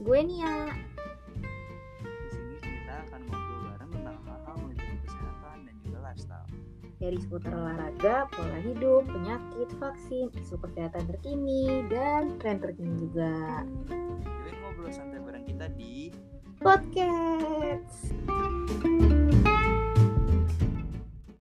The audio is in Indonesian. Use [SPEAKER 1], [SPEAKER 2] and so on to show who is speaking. [SPEAKER 1] Gue Nia.
[SPEAKER 2] Di sini kita akan ngobrol bareng tentang hal-hal meliputi kesehatan dan juga lifestyle.
[SPEAKER 1] Dari seputar olahraga, pola hidup, penyakit, vaksin, isu kesehatan terkini, dan tren terkini juga.
[SPEAKER 2] Jadi ngobrol santai bareng kita di
[SPEAKER 1] Podcast.